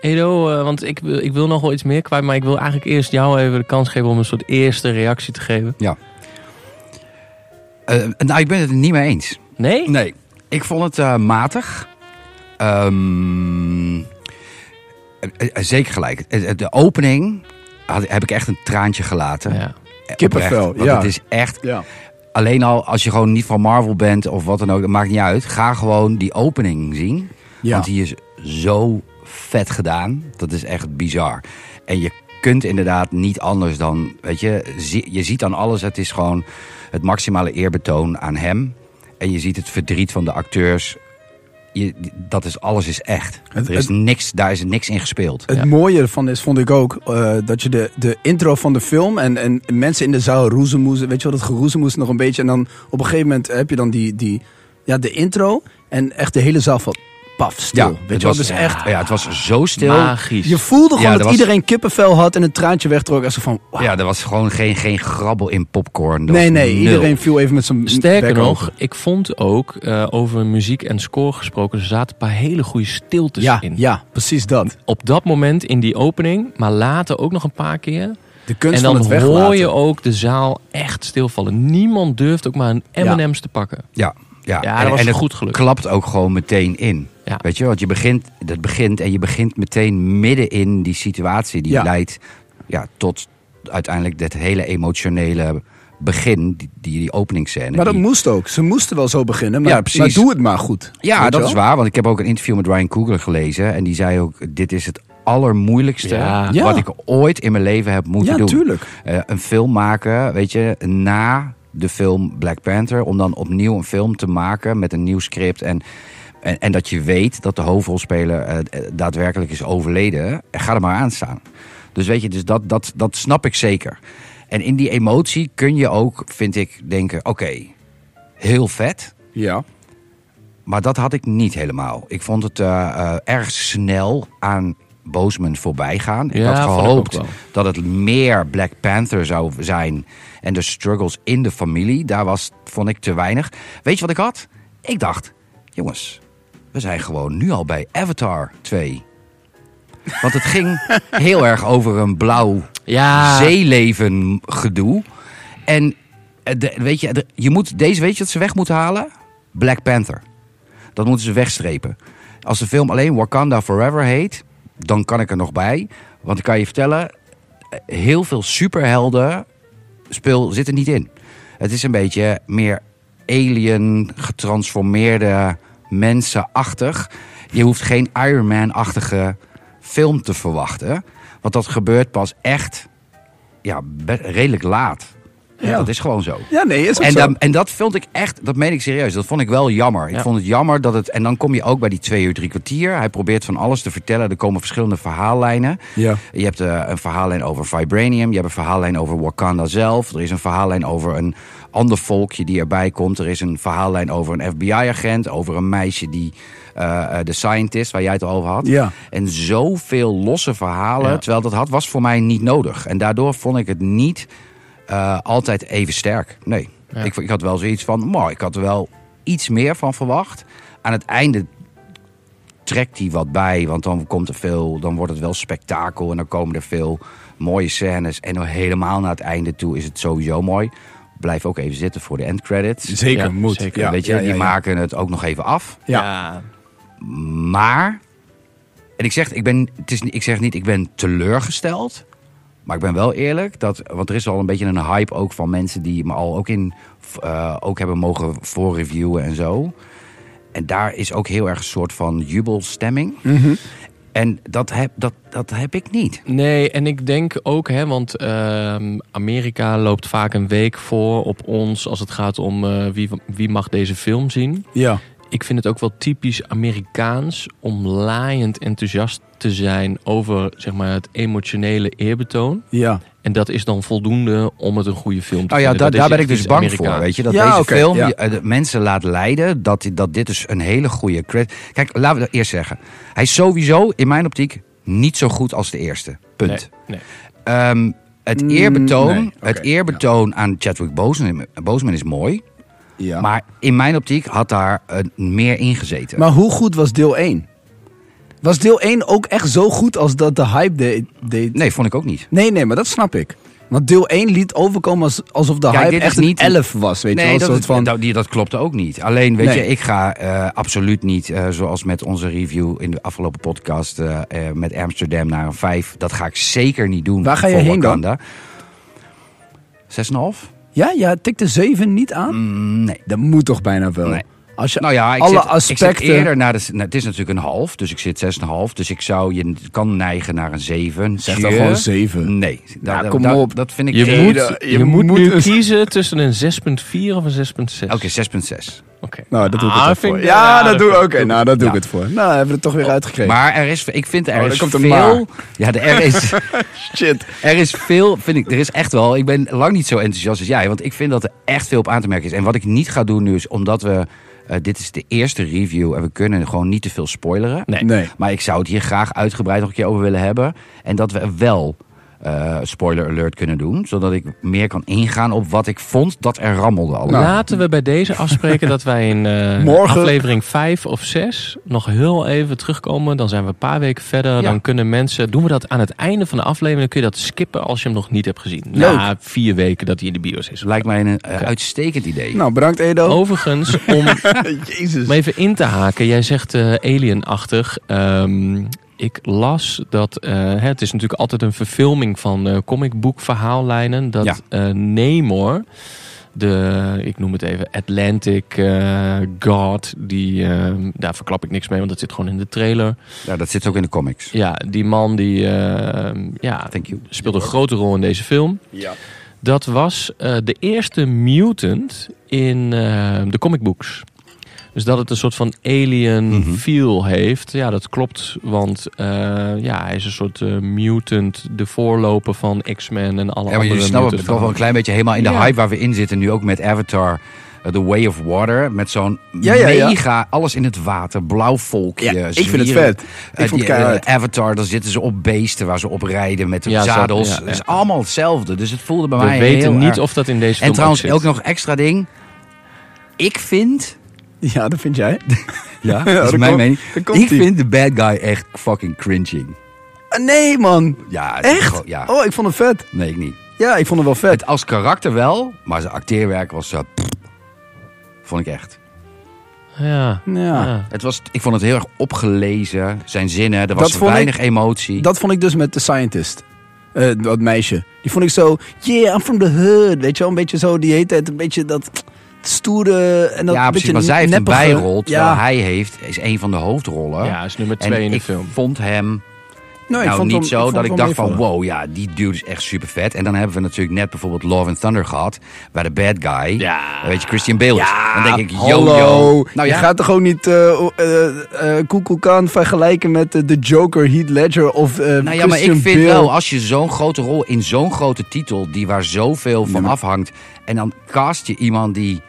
[SPEAKER 3] Edo, eh, want ik, wil- ik wil nog wel iets meer kwijt, maar ik wil eigenlijk eerst jou even de kans geven om een soort eerste reactie te geven.
[SPEAKER 5] Eh, nou, ik ben het er niet mee eens.
[SPEAKER 3] Nee?
[SPEAKER 5] Nee, ik vond het eh, matig. Ehm, eh, eh, zeker gelijk. Eh, eh, De opening had, heb ik echt een traantje gelaten.
[SPEAKER 3] Ja.
[SPEAKER 5] Eh,
[SPEAKER 4] Kippenvel,
[SPEAKER 5] oprecht. Want
[SPEAKER 4] ja.
[SPEAKER 5] Het is echt
[SPEAKER 4] Ja,
[SPEAKER 5] alleen al als je gewoon niet van Marvel bent of wat dan ook, dat maakt niet uit. Ga gewoon die opening zien.
[SPEAKER 4] Ja.
[SPEAKER 5] Want die is zo vet gedaan. Dat is echt bizar. En je kunt inderdaad niet anders dan, weet je, zie- je ziet aan alles, het is gewoon het maximale eerbetoon aan hem. En je ziet het verdriet van de acteurs. Je, dat is, alles is echt.
[SPEAKER 4] Het-
[SPEAKER 5] er is niks, daar is niks in gespeeld.
[SPEAKER 4] Het
[SPEAKER 3] Ja.
[SPEAKER 4] mooie ervan is, vond ik ook, eh, dat je de, de intro van de film en, en mensen in de zaal roezemoezen, weet je wel, dat geroezemoes nog een beetje. En dan op een gegeven moment heb je dan die, die ja, de intro en echt de hele zaal van paf, stil.
[SPEAKER 5] het
[SPEAKER 4] weet je wel,
[SPEAKER 5] was-
[SPEAKER 4] dus echt,
[SPEAKER 5] ja, het was zo stil.
[SPEAKER 3] Magisch.
[SPEAKER 4] je voelde gewoon
[SPEAKER 5] Ja,
[SPEAKER 4] dat,
[SPEAKER 5] dat was-
[SPEAKER 4] iedereen kippenvel had en een traantje wegtrok. En zo van, wauw.
[SPEAKER 5] Ja, er was gewoon geen, geen grabbel in popcorn. Er
[SPEAKER 4] nee,
[SPEAKER 5] was
[SPEAKER 4] nee,
[SPEAKER 5] nul.
[SPEAKER 4] iedereen viel even met zijn
[SPEAKER 3] Sterker
[SPEAKER 4] bek
[SPEAKER 3] nog,
[SPEAKER 4] open.
[SPEAKER 3] ik vond ook eh, over muziek en score gesproken, er zaten een paar hele goede
[SPEAKER 5] dus
[SPEAKER 3] stiltes
[SPEAKER 4] Ja,
[SPEAKER 3] in.
[SPEAKER 4] ja, precies dat.
[SPEAKER 3] Op dat moment in die opening, maar later ook nog een paar keer.
[SPEAKER 4] De kunst
[SPEAKER 3] En
[SPEAKER 4] van
[SPEAKER 3] dan
[SPEAKER 4] het
[SPEAKER 3] hoor
[SPEAKER 4] weglaten.
[SPEAKER 3] je ook de zaal echt stilvallen. Niemand durft ook maar een
[SPEAKER 4] Ja.
[SPEAKER 3] M&M's te pakken.
[SPEAKER 5] Ja, ja.
[SPEAKER 3] Ja, dat was
[SPEAKER 5] het
[SPEAKER 3] goed gelukt.
[SPEAKER 5] klapt ook gewoon meteen in.
[SPEAKER 3] Ja.
[SPEAKER 5] Weet je, want je begint, dat begint en je begint meteen midden in die situatie die
[SPEAKER 4] Ja.
[SPEAKER 5] leidt ja, tot uiteindelijk dat hele emotionele begin, die, die, die openingsscène.
[SPEAKER 4] Maar dat
[SPEAKER 5] die-
[SPEAKER 4] moest ook. Ze moesten wel zo beginnen, maar,
[SPEAKER 5] Ja, precies.
[SPEAKER 4] maar doe het maar goed. Weet
[SPEAKER 5] ja,
[SPEAKER 4] je
[SPEAKER 5] dat
[SPEAKER 4] wel?
[SPEAKER 5] is waar, want ik heb ook een interview met Ryan Coogler gelezen en die zei ook, dit is het allermoeilijkste
[SPEAKER 3] Ja.
[SPEAKER 4] Ja.
[SPEAKER 5] wat ik ooit in mijn leven heb moeten
[SPEAKER 4] Ja,
[SPEAKER 5] doen.
[SPEAKER 4] tuurlijk.
[SPEAKER 5] Eh, een film maken, weet je, na de film Black Panther. Om dan opnieuw een film te maken met een nieuw script. En, en, en dat je weet dat de hoofdrolspeler eh, eh, daadwerkelijk is overleden. Eh, Ga er maar aan staan. Dus weet je, dus dat, dat, dat snap ik zeker. En in die emotie kun je ook, vind ik, denken: oké, heel vet.
[SPEAKER 4] Ja.
[SPEAKER 5] Maar dat had ik niet helemaal. Ik vond het eh, eh, erg snel aan Bozeman voorbij gaan. Ik
[SPEAKER 3] Ja,
[SPEAKER 5] had
[SPEAKER 3] vond ik
[SPEAKER 5] gehoopt
[SPEAKER 3] ook wel.
[SPEAKER 5] dat het meer Black Panther zou zijn. En de struggles in de familie. Daar was, vond ik te weinig. Weet je wat ik had? Ik dacht, jongens, we zijn gewoon nu al bij Avatar 2. Want het ging heel erg over een blauw
[SPEAKER 3] Ja.
[SPEAKER 5] zeeleven gedoe. En eh, de, weet je, de- je moet, deze weet je wat ze weg moeten halen? Black Panther. Dat moeten ze wegstrepen. Als de film alleen Wakanda Forever heet, dan kan ik er nog bij. Want ik kan je vertellen, eh, heel veel superhelden spul zit er niet in. Het is een beetje meer alien getransformeerde mensenachtig. Je hoeft geen Iron Man-achtige film te verwachten. Want dat gebeurt pas echt ja, be- redelijk laat.
[SPEAKER 4] Ja.
[SPEAKER 5] Dat is gewoon zo.
[SPEAKER 4] Ja, nee, is ook
[SPEAKER 5] En,
[SPEAKER 4] zo.
[SPEAKER 5] dan, en dat vond ik echt, dat meen ik serieus, dat vond ik wel jammer. Ik
[SPEAKER 3] Ja.
[SPEAKER 5] vond het jammer dat het, en dan kom je ook bij die twee uur, drie kwartier. Hij probeert van alles te vertellen, er komen verschillende verhaallijnen.
[SPEAKER 4] Ja.
[SPEAKER 5] Je hebt eh, een verhaallijn over Vibranium. Je hebt een verhaallijn over Wakanda zelf. Er is een verhaallijn over een ander volkje die erbij komt. Er is een verhaallijn over een FBI-agent. Over een meisje die eh, eh, de scientist, waar jij het over had.
[SPEAKER 4] Ja.
[SPEAKER 5] En zoveel losse verhalen.
[SPEAKER 3] Ja.
[SPEAKER 5] Terwijl dat had, was voor mij niet nodig. En daardoor vond ik het niet eh, altijd even sterk. Nee.
[SPEAKER 3] Ja.
[SPEAKER 5] Ik, ik had wel zoiets van, maar ik had er wel iets meer van verwacht. Aan het einde trekt hij wat bij. Want dan komt er veel, dan wordt het wel spektakel en dan komen er veel mooie scènes. En dan helemaal naar het einde toe is het sowieso mooi. Blijf ook even zitten voor de endcredits.
[SPEAKER 4] Zeker,
[SPEAKER 3] Ja,
[SPEAKER 4] moet.
[SPEAKER 3] zeker.
[SPEAKER 4] Ja,
[SPEAKER 5] Weet je,
[SPEAKER 4] ja,
[SPEAKER 5] die
[SPEAKER 4] ja, ja.
[SPEAKER 5] maken het ook nog even af.
[SPEAKER 4] Ja.
[SPEAKER 5] Maar, en ik zeg, ik, ben, het is, ik zeg niet, ik ben teleurgesteld. Maar ik ben wel eerlijk, dat, want er is al een beetje een hype ook van mensen die me al ook, in, eh, ook hebben mogen voorreviewen en zo. En daar is ook heel erg een soort van jubelstemming. En dat heb, dat, dat heb ik niet.
[SPEAKER 3] Nee, en ik denk ook, hè, want ehm, Amerika loopt vaak een week voor op ons als het gaat om eh, wie, wie mag deze film zien.
[SPEAKER 4] Ja.
[SPEAKER 3] Ik vind het ook wel typisch Amerikaans om laaiend enthousiast te zijn over zeg maar, het emotionele eerbetoon.
[SPEAKER 4] Ja.
[SPEAKER 3] En dat is dan voldoende om het een goede film te
[SPEAKER 5] Nou ja,
[SPEAKER 3] vinden.
[SPEAKER 5] da-
[SPEAKER 3] Dat is
[SPEAKER 5] daar ben ik
[SPEAKER 3] echt
[SPEAKER 5] dus
[SPEAKER 3] iets
[SPEAKER 5] bang voor.
[SPEAKER 3] Amerikaans.
[SPEAKER 5] Weet je, dat
[SPEAKER 4] Ja,
[SPEAKER 5] deze
[SPEAKER 4] oké,
[SPEAKER 5] film
[SPEAKER 4] ja.
[SPEAKER 5] je- eh, de mensen laat leiden dat, dit- dat dit dus een hele goede credit. Kijk, laten we dat eerst zeggen. Hij is sowieso, in mijn optiek, niet zo goed als de eerste. Punt.
[SPEAKER 3] Nee, nee.
[SPEAKER 5] Ehm, het
[SPEAKER 4] Mm,
[SPEAKER 5] eerbetoon,
[SPEAKER 4] nee, oké,
[SPEAKER 5] het eerbetoon aan Chadwick Boseman, Boseman is mooi.
[SPEAKER 4] ja. Maar,
[SPEAKER 5] Maar in mijn optiek had daar eh, meer in gezeten.
[SPEAKER 4] hoe goed was deel 1? Was deel 1 ook echt zo goed als dat de hype deed? deed?
[SPEAKER 5] nee, vond ik ook niet.
[SPEAKER 4] nee, nee, maar dat snap ik. Want deel 1 liet overkomen als, alsof de
[SPEAKER 5] Kijk,
[SPEAKER 4] hype
[SPEAKER 5] dit
[SPEAKER 4] echt
[SPEAKER 5] is dus niet
[SPEAKER 4] niet
[SPEAKER 5] een-
[SPEAKER 4] 11 was. Weet
[SPEAKER 5] nee,
[SPEAKER 4] je wel?
[SPEAKER 5] dat,
[SPEAKER 4] Een soort
[SPEAKER 5] is-
[SPEAKER 4] van,
[SPEAKER 5] dat, die- dat klopt ook niet. Alleen, weet
[SPEAKER 4] Nee.
[SPEAKER 5] je, ik ga eh, absoluut niet, eh, zoals met onze review in de afgelopen podcast eh, eh, met Amsterdam naar een 5. Dat ga ik zeker niet doen.
[SPEAKER 4] Waar ga je
[SPEAKER 5] voor
[SPEAKER 4] heen dan?
[SPEAKER 5] Wakanda. 6,5?
[SPEAKER 4] ja, ja, tikt de 7 niet aan?
[SPEAKER 5] Mm, nee.
[SPEAKER 4] Dat moet toch bijna wel?
[SPEAKER 5] Nee.
[SPEAKER 4] Als je
[SPEAKER 5] Nou ja, ik,
[SPEAKER 4] alle
[SPEAKER 5] zit,
[SPEAKER 4] aspecten...
[SPEAKER 5] ik zit eerder naar de... s- nou, het is natuurlijk een half, dus ik zit 6,5. Dus ik zou... Je kan neigen naar een 7.
[SPEAKER 4] Zeg dan gewoon 7.
[SPEAKER 5] Nee.
[SPEAKER 4] Ja,
[SPEAKER 5] da-
[SPEAKER 4] kom
[SPEAKER 5] da-
[SPEAKER 4] op.
[SPEAKER 5] Dat vind ik...
[SPEAKER 3] Je,
[SPEAKER 5] eerder-
[SPEAKER 3] moet,
[SPEAKER 4] dat-
[SPEAKER 3] je,
[SPEAKER 4] je
[SPEAKER 3] moet,
[SPEAKER 4] moet
[SPEAKER 3] nu
[SPEAKER 4] een-
[SPEAKER 3] kiezen tussen een 6.4 of een 6.6.
[SPEAKER 5] Oké, 6,6.
[SPEAKER 3] Oké.
[SPEAKER 4] Nou, dat doe ik het
[SPEAKER 3] Ah,
[SPEAKER 4] ook
[SPEAKER 3] vind
[SPEAKER 4] voor.
[SPEAKER 3] ik-
[SPEAKER 4] Ja, dat doe ik. Oké,
[SPEAKER 3] vind
[SPEAKER 4] nou, dat doe ik
[SPEAKER 5] Ja. Oh,
[SPEAKER 4] het voor. Nou, hebben we het toch weer uitgekregen.
[SPEAKER 5] Maar er is... Ik vind er
[SPEAKER 4] Oh, daar
[SPEAKER 5] is
[SPEAKER 4] komt een
[SPEAKER 5] veel... Ja, de- er is...
[SPEAKER 4] shit.
[SPEAKER 5] Er is veel, vind ik, er is echt wel. Ik ben lang niet zo enthousiast als jij, want ik vind dat er echt veel op aan te merken is. En wat ik niet ga doen nu is, omdat we. eh, dit is de eerste review en we kunnen gewoon niet te veel spoileren.
[SPEAKER 3] Nee.
[SPEAKER 4] Nee.
[SPEAKER 5] Maar ik zou het hier graag uitgebreid nog een keer over willen hebben. En dat we er wel eh, spoiler alert kunnen doen, zodat ik meer kan ingaan op wat ik vond dat er rammelde allemaal.
[SPEAKER 4] Nou.
[SPEAKER 3] Laten we bij deze afspreken dat wij in eh,
[SPEAKER 4] Morgen.
[SPEAKER 3] aflevering 5 of 6 nog heel even terugkomen. Dan zijn we een paar weken verder. Dan kunnen mensen, doen we dat aan het einde van de aflevering, dan kun je dat skippen als je hem nog niet hebt gezien. Na vier weken dat hij in de bios is.
[SPEAKER 5] Lijkt mij een eh, uitstekend idee.
[SPEAKER 4] Nou, bedankt Edo.
[SPEAKER 5] Oh.
[SPEAKER 3] Overigens, om
[SPEAKER 4] Jezus.
[SPEAKER 3] om even in te haken, jij zegt eh, alienachtig. Ehm, ik las dat, eh, hè, het is natuurlijk altijd een verfilming van eh comicboek verhaallijnen, dat
[SPEAKER 5] Ja.
[SPEAKER 3] eh, Namor, de, ik noem het even, Atlantic eh, God, die, eh, daar verklap ik niks mee, want dat zit gewoon in de trailer.
[SPEAKER 5] Ja, dat zit ook in de comics.
[SPEAKER 3] Ja, die man die eh, ja,
[SPEAKER 5] Thank you.
[SPEAKER 3] speelt een grote rol in deze film.
[SPEAKER 4] Ja.
[SPEAKER 3] Dat was eh, de eerste mutant in eh, de comicbooks. Dus dat het een soort van alien
[SPEAKER 5] Mhm.
[SPEAKER 3] feel heeft. Ja, dat klopt. Want eh, ja, hij is een soort eh, mutant. De voorloper van X-Men en alle
[SPEAKER 5] Ja, maar
[SPEAKER 3] andere
[SPEAKER 5] jullie snappen
[SPEAKER 3] mutant
[SPEAKER 5] het toch wel een klein beetje helemaal in de
[SPEAKER 3] Ja.
[SPEAKER 5] hype waar we in zitten nu ook met Avatar. eh, The Way of Water. Met zo'n
[SPEAKER 4] Ja, ja, ja.
[SPEAKER 5] mega, alles in het water, blauw volkje.
[SPEAKER 4] Ja, ik vind het
[SPEAKER 5] zwieren.
[SPEAKER 4] vet. Ik
[SPEAKER 5] Eh,
[SPEAKER 4] vond het
[SPEAKER 5] die, eh,
[SPEAKER 4] keihard.
[SPEAKER 5] Avatar, daar zitten ze op beesten waar ze op rijden met de
[SPEAKER 3] Ja, zo-
[SPEAKER 5] zadels.
[SPEAKER 3] ja,
[SPEAKER 5] Het is
[SPEAKER 3] ja.
[SPEAKER 5] allemaal hetzelfde. Dus het voelde bij
[SPEAKER 3] We
[SPEAKER 5] mij heel
[SPEAKER 3] weten niet
[SPEAKER 5] erg-
[SPEAKER 3] of dat in deze film
[SPEAKER 5] En trouwens,
[SPEAKER 3] ook zit.
[SPEAKER 5] ook nog extra ding. Ik vind...
[SPEAKER 4] Ja, dat vind jij?
[SPEAKER 5] Ja,
[SPEAKER 4] Ja,
[SPEAKER 5] dat is
[SPEAKER 4] daar
[SPEAKER 5] mijn
[SPEAKER 4] komt-
[SPEAKER 5] mening.
[SPEAKER 4] daar komt
[SPEAKER 5] Ik
[SPEAKER 4] ie.
[SPEAKER 5] vind de bad guy echt fucking cringing.
[SPEAKER 4] Ah, nee, man.
[SPEAKER 5] Ja, het is
[SPEAKER 4] Echt?
[SPEAKER 5] gewoon- ja.
[SPEAKER 4] Oh, ik vond het vet.
[SPEAKER 5] Nee, ik niet.
[SPEAKER 4] Ja, ik vond het wel vet.
[SPEAKER 5] Het als karakter wel, maar zijn acteerwerk was... eh, pff, vond ik echt.
[SPEAKER 3] Ja.
[SPEAKER 4] Ja.
[SPEAKER 5] Het Ah. was, ik vond het heel erg opgelezen. Zijn zinnen, er
[SPEAKER 4] Dat
[SPEAKER 5] was
[SPEAKER 4] vond ik-
[SPEAKER 5] weinig emotie.
[SPEAKER 4] Dat vond ik dus met The Scientist. Eh, dat meisje. Die vond ik zo, yeah, I'm from the hood. Weet je wel, een beetje zo, die heet het, een beetje dat stoere en dat
[SPEAKER 5] ja, precies.
[SPEAKER 4] beetje
[SPEAKER 5] Maar zij heeft een
[SPEAKER 4] neppige.
[SPEAKER 5] bijrol, terwijl
[SPEAKER 4] Ja.
[SPEAKER 5] hij heeft, is een van de hoofdrollen.
[SPEAKER 3] Ja, is nummer
[SPEAKER 5] en
[SPEAKER 3] twee in de
[SPEAKER 5] ik
[SPEAKER 3] film.
[SPEAKER 5] vond hem
[SPEAKER 4] Nee, ik
[SPEAKER 5] nou
[SPEAKER 4] vond
[SPEAKER 5] niet
[SPEAKER 4] hem-
[SPEAKER 5] zo
[SPEAKER 4] vond
[SPEAKER 5] dat
[SPEAKER 4] hem
[SPEAKER 5] ik dacht van
[SPEAKER 4] meevallen.
[SPEAKER 5] wow, ja, die dude is echt super vet. En dan hebben we natuurlijk net bijvoorbeeld Love and Thunder gehad, waar de bad guy,
[SPEAKER 3] Ja.
[SPEAKER 5] weet je, Christian Bale is.
[SPEAKER 4] Ja,
[SPEAKER 5] dan denk ik, yo,
[SPEAKER 4] hallo.
[SPEAKER 5] yo.
[SPEAKER 4] Nou, je gaat toch ook niet eh eh, eh, Kuku Khan vergelijken met eh, de Joker, Heath Ledger of eh
[SPEAKER 5] Nou ja,
[SPEAKER 4] Christian
[SPEAKER 5] maar ik vind
[SPEAKER 4] Bale.
[SPEAKER 5] wel, als je zo'n grote rol in zo'n grote titel, die waar zoveel van afhangt, en dan cast je iemand die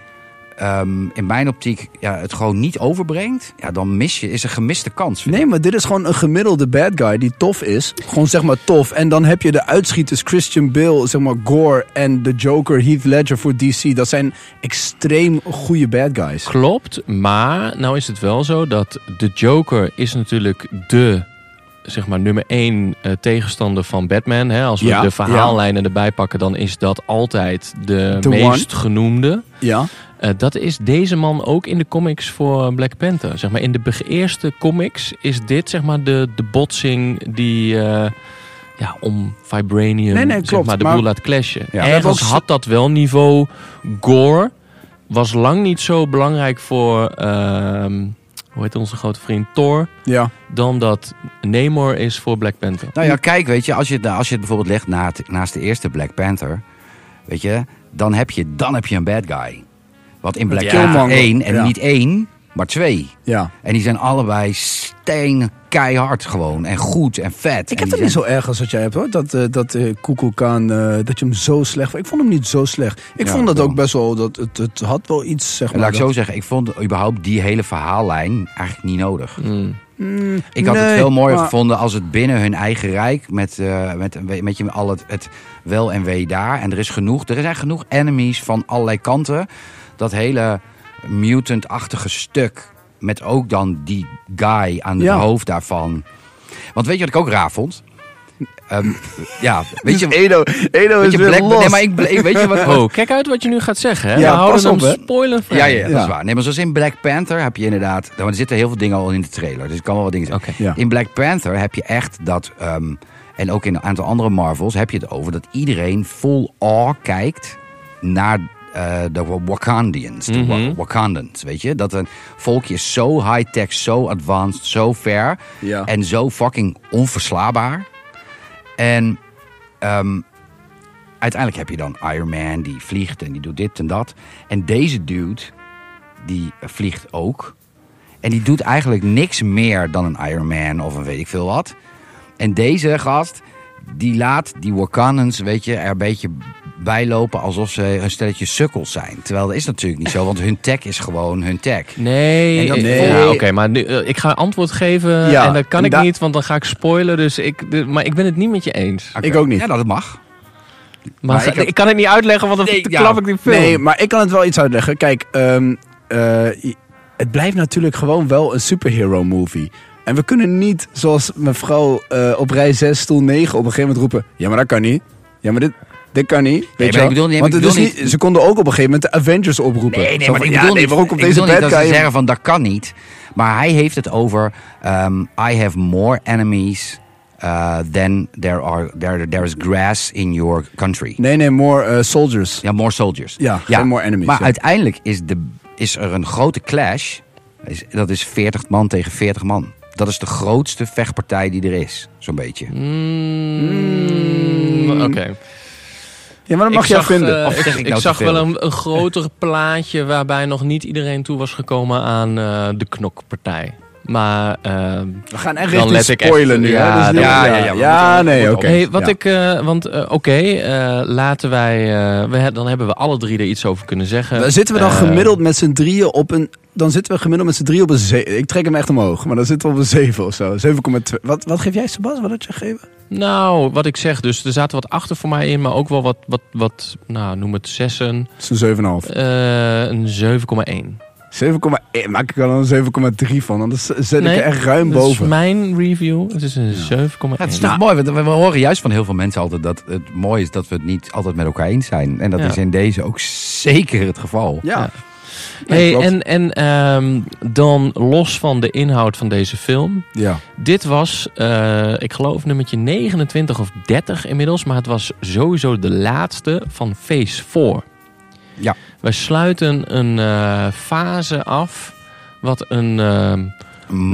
[SPEAKER 5] ehm, in mijn optiek ja, het gewoon niet overbrengt, ja, dan mis je, is een gemiste kans. vind ik.
[SPEAKER 4] Nee, maar dit is gewoon een gemiddelde bad guy die tof is. Gewoon zeg maar tof. En dan heb je de uitschieters Christian Bale, zeg maar Gore en de Joker Heath Ledger voor DC. Dat zijn extreem goede bad guys.
[SPEAKER 3] Klopt, maar nou is het wel zo dat de Joker is natuurlijk de zeg maar nummer één eh, tegenstander van Batman. Hè? Als we
[SPEAKER 4] Ja,
[SPEAKER 3] de verhaallijnen erbij pakken, dan is dat altijd de
[SPEAKER 4] The
[SPEAKER 3] meest genoemde.
[SPEAKER 4] Ja.
[SPEAKER 3] Eh, dat is deze man ook in de comics voor eh, Black Panther. Zeg maar, in de be- eerste comics is dit zeg maar, de, de botsing die eh, ja, om Vibranium
[SPEAKER 4] Nee, nee,
[SPEAKER 3] zeg
[SPEAKER 4] klopt,
[SPEAKER 3] maar, de
[SPEAKER 4] maar-
[SPEAKER 3] boel laat clashen.
[SPEAKER 5] Ja.
[SPEAKER 3] Ergens
[SPEAKER 4] Dat was-
[SPEAKER 3] had dat wel niveau gore. Was lang niet zo belangrijk voor, ehm, hoe heet onze grote vriend, Thor...
[SPEAKER 4] Ja.
[SPEAKER 3] dan dat Namor is voor Black Panther.
[SPEAKER 5] Nou ja, kijk, weet je, als je, het- nou, als je het bijvoorbeeld legt na het- naast de eerste Black Panther, weet je, dan heb je, dan heb je een bad guy. Want in Black
[SPEAKER 4] Killmonger.
[SPEAKER 5] Panther 1, en
[SPEAKER 4] Ja.
[SPEAKER 5] niet één, maar twee.
[SPEAKER 4] Ja.
[SPEAKER 5] En die zijn allebei steen keihard gewoon. En goed en vet.
[SPEAKER 4] Ik heb dat
[SPEAKER 5] En die
[SPEAKER 4] niet
[SPEAKER 5] zijn-
[SPEAKER 4] zo erg als wat jij hebt hoor. Dat, eh dat eh, Kuku Khan, eh, dat je hem zo slecht vond. Ik vond hem niet zo slecht. Ik
[SPEAKER 5] Ja,
[SPEAKER 4] vond dat
[SPEAKER 5] daarom.
[SPEAKER 4] ook best wel, dat, het, het had wel iets zeg maar.
[SPEAKER 5] Laat ik
[SPEAKER 4] dat-
[SPEAKER 5] zo zeggen, ik vond überhaupt die hele verhaallijn eigenlijk niet nodig.
[SPEAKER 3] Mm.
[SPEAKER 5] Ik had het
[SPEAKER 4] Nee,
[SPEAKER 5] veel mooier
[SPEAKER 4] maar-
[SPEAKER 5] gevonden als het binnen hun eigen rijk. Met, eh, met, met je, al het, het wel en wee daar. En er is genoeg. Er zijn genoeg enemies van allerlei kanten. Dat hele mutant-achtige stuk. Met ook dan die guy aan het
[SPEAKER 4] Ja.
[SPEAKER 5] hoofd daarvan. Want weet je wat ik ook raar vond? Ehm, ja, weet je.
[SPEAKER 4] Dus Edo, Edo
[SPEAKER 5] Weet
[SPEAKER 4] is
[SPEAKER 5] je,
[SPEAKER 4] weer
[SPEAKER 5] Black,
[SPEAKER 4] los.
[SPEAKER 5] nee, maar ik, ble- weet je wat,
[SPEAKER 3] Oh, kijk uit wat je nu gaat zeggen. Hè?
[SPEAKER 4] Ja,
[SPEAKER 3] We houden
[SPEAKER 4] pas op,
[SPEAKER 3] hem
[SPEAKER 4] hè.
[SPEAKER 3] spoiler
[SPEAKER 5] Ja, ja, dat
[SPEAKER 4] Ja.
[SPEAKER 5] is waar. Nee, maar zoals in Black Panther heb je inderdaad... nou, Er zitten heel veel dingen al in de trailer, dus ik kan wel wat dingen zeggen.
[SPEAKER 4] Oké. Ja.
[SPEAKER 5] In Black Panther heb je echt dat... ehm, en ook in een aantal andere Marvels heb je het over... dat iedereen vol awe kijkt naar eh, de Wa- Wakandians. De Wa-
[SPEAKER 3] Mhm.
[SPEAKER 5] Wakandans, weet je? Dat een volkje is zo high-tech, zo advanced, zo ver...
[SPEAKER 4] Ja.
[SPEAKER 5] en zo fucking onverslaanbaar. En ehm, uiteindelijk heb je dan Iron Man die vliegt en die doet dit en dat. En deze dude, die vliegt ook. En die doet eigenlijk niks meer dan een Iron Man of een weet ik veel wat. En deze gast, die laat die Wakandans, weet je, er een beetje bijlopen alsof ze een stelletje sukkels zijn. Terwijl dat is natuurlijk niet zo, want hun tech is gewoon hun tech.
[SPEAKER 3] Nee,
[SPEAKER 5] En dat
[SPEAKER 3] ik-
[SPEAKER 5] nee.
[SPEAKER 3] ja,
[SPEAKER 5] Nee.
[SPEAKER 3] oké, maar nu, eh, ik ga antwoord geven
[SPEAKER 4] Ja,
[SPEAKER 3] en dat kan
[SPEAKER 4] en
[SPEAKER 3] ik
[SPEAKER 4] da-
[SPEAKER 3] niet, want dan ga ik spoilen. Dus ik, de- maar ik ben het niet met je eens.
[SPEAKER 5] Oké.
[SPEAKER 4] Ik ook niet.
[SPEAKER 5] Ja, nou, dat mag.
[SPEAKER 3] Maar,
[SPEAKER 5] maar
[SPEAKER 3] ga-
[SPEAKER 5] ik
[SPEAKER 3] ik,
[SPEAKER 5] heb-
[SPEAKER 3] kan het niet uitleggen, want dan
[SPEAKER 5] Nee, ja.
[SPEAKER 3] klap ik die film.
[SPEAKER 4] Nee, maar ik kan het wel iets uitleggen. Kijk, ehm, eh, i- het blijft natuurlijk gewoon wel een superhero movie. En we kunnen niet, zoals mevrouw eh, op rij 6, stoel 9, op een gegeven moment roepen... Ja, maar dat kan niet. Ja, maar dit, dit kan niet. Weet
[SPEAKER 5] maar
[SPEAKER 4] je wel?
[SPEAKER 5] ik bedoel niet-
[SPEAKER 4] Want
[SPEAKER 5] ik
[SPEAKER 4] het
[SPEAKER 5] bedoel
[SPEAKER 4] is Ze konden ook op een gegeven moment de Avengers oproepen.
[SPEAKER 5] Nee, nee,
[SPEAKER 4] Zo
[SPEAKER 5] maar
[SPEAKER 4] van,
[SPEAKER 5] ik
[SPEAKER 4] ja,
[SPEAKER 5] bedoel
[SPEAKER 4] nee,
[SPEAKER 5] niet,
[SPEAKER 4] waarom komt
[SPEAKER 5] ik
[SPEAKER 4] deze
[SPEAKER 5] bedoel niet
[SPEAKER 4] bad
[SPEAKER 5] dat ze
[SPEAKER 4] guy...
[SPEAKER 5] zeggen van dat kan niet. Maar hij heeft het over ehm, I have more enemies eh, than there are there, there is grass in your country.
[SPEAKER 4] Nee, nee, more eh, soldiers.
[SPEAKER 5] Ja, more soldiers.
[SPEAKER 4] Ja, geen more enemies,
[SPEAKER 5] Maar
[SPEAKER 4] ja.
[SPEAKER 5] uiteindelijk is, de, is er een grote clash. Is- Dat is 40 man tegen 40 man. Dat is de grootste vechtpartij die er is, zo'n beetje.
[SPEAKER 3] Mm, Oké.
[SPEAKER 4] Ja, maar dat mag
[SPEAKER 3] Ik
[SPEAKER 4] jij
[SPEAKER 3] zag,
[SPEAKER 4] vinden.
[SPEAKER 3] eh,
[SPEAKER 5] Of zeg
[SPEAKER 3] ik
[SPEAKER 5] ik
[SPEAKER 3] ik
[SPEAKER 5] nou te
[SPEAKER 3] zag
[SPEAKER 5] veel?
[SPEAKER 3] wel een, een groter plaatje waarbij nog niet iedereen toe was gekomen aan eh, de knokpartij. Maar ehm,
[SPEAKER 4] We gaan echt
[SPEAKER 3] Dan
[SPEAKER 4] richting
[SPEAKER 3] let ik echt-
[SPEAKER 4] spoilen nu.
[SPEAKER 3] ja,
[SPEAKER 4] hè? Dus
[SPEAKER 3] dan-
[SPEAKER 4] ja,
[SPEAKER 5] ja,
[SPEAKER 4] ja,
[SPEAKER 5] ja,
[SPEAKER 4] ja,
[SPEAKER 5] we
[SPEAKER 4] ja,
[SPEAKER 5] moeten-
[SPEAKER 4] nee,
[SPEAKER 5] we
[SPEAKER 4] oké.
[SPEAKER 5] moeten
[SPEAKER 3] Hey, wat
[SPEAKER 4] Ja.
[SPEAKER 3] ik, eh, want eh, oké, eh, laten wij, eh, we, he- dan hebben we alle drie er iets over kunnen zeggen.
[SPEAKER 4] Dan zitten we dan
[SPEAKER 3] Eh,
[SPEAKER 4] gemiddeld met z'n drieën op een... Dan zitten we gemiddeld met z'n drieën op een 7. Ik trek hem echt omhoog. Maar dan zitten we op een 7 of zo. 7,2. Wat, wat geef jij, Sebas? Wat had je gegeven?
[SPEAKER 3] Nou, wat ik zeg, dus er zaten wat achter voor mij in, maar ook wel wat, wat, wat nou noem het zessen,
[SPEAKER 4] Dat is een 7,5.
[SPEAKER 3] eh, een 7,1.
[SPEAKER 4] 7,1. eh, Maak ik er dan een 7,3 van. Anders zet
[SPEAKER 3] Nee,
[SPEAKER 4] ik er echt ruim
[SPEAKER 3] Dat is
[SPEAKER 4] boven.
[SPEAKER 3] mijn review, het is een 7,1.
[SPEAKER 5] Ja, Nou. het is toch mooi, want we we horen juist van heel veel mensen altijd dat het mooi is dat we het niet altijd met elkaar eens zijn. En dat
[SPEAKER 3] Ja.
[SPEAKER 5] is in deze ook zeker het geval.
[SPEAKER 4] Ja. Nee,
[SPEAKER 3] Hey,
[SPEAKER 4] klopt.
[SPEAKER 3] en en ehm, dan los van de inhoud van deze film,
[SPEAKER 4] ja.
[SPEAKER 3] Dit was, eh, ik geloof, nummertje 29 of 30 inmiddels. Maar het was sowieso de laatste van Phase 4.
[SPEAKER 5] Ja.
[SPEAKER 3] Wij sluiten een eh, fase af wat een eh,
[SPEAKER 5] Een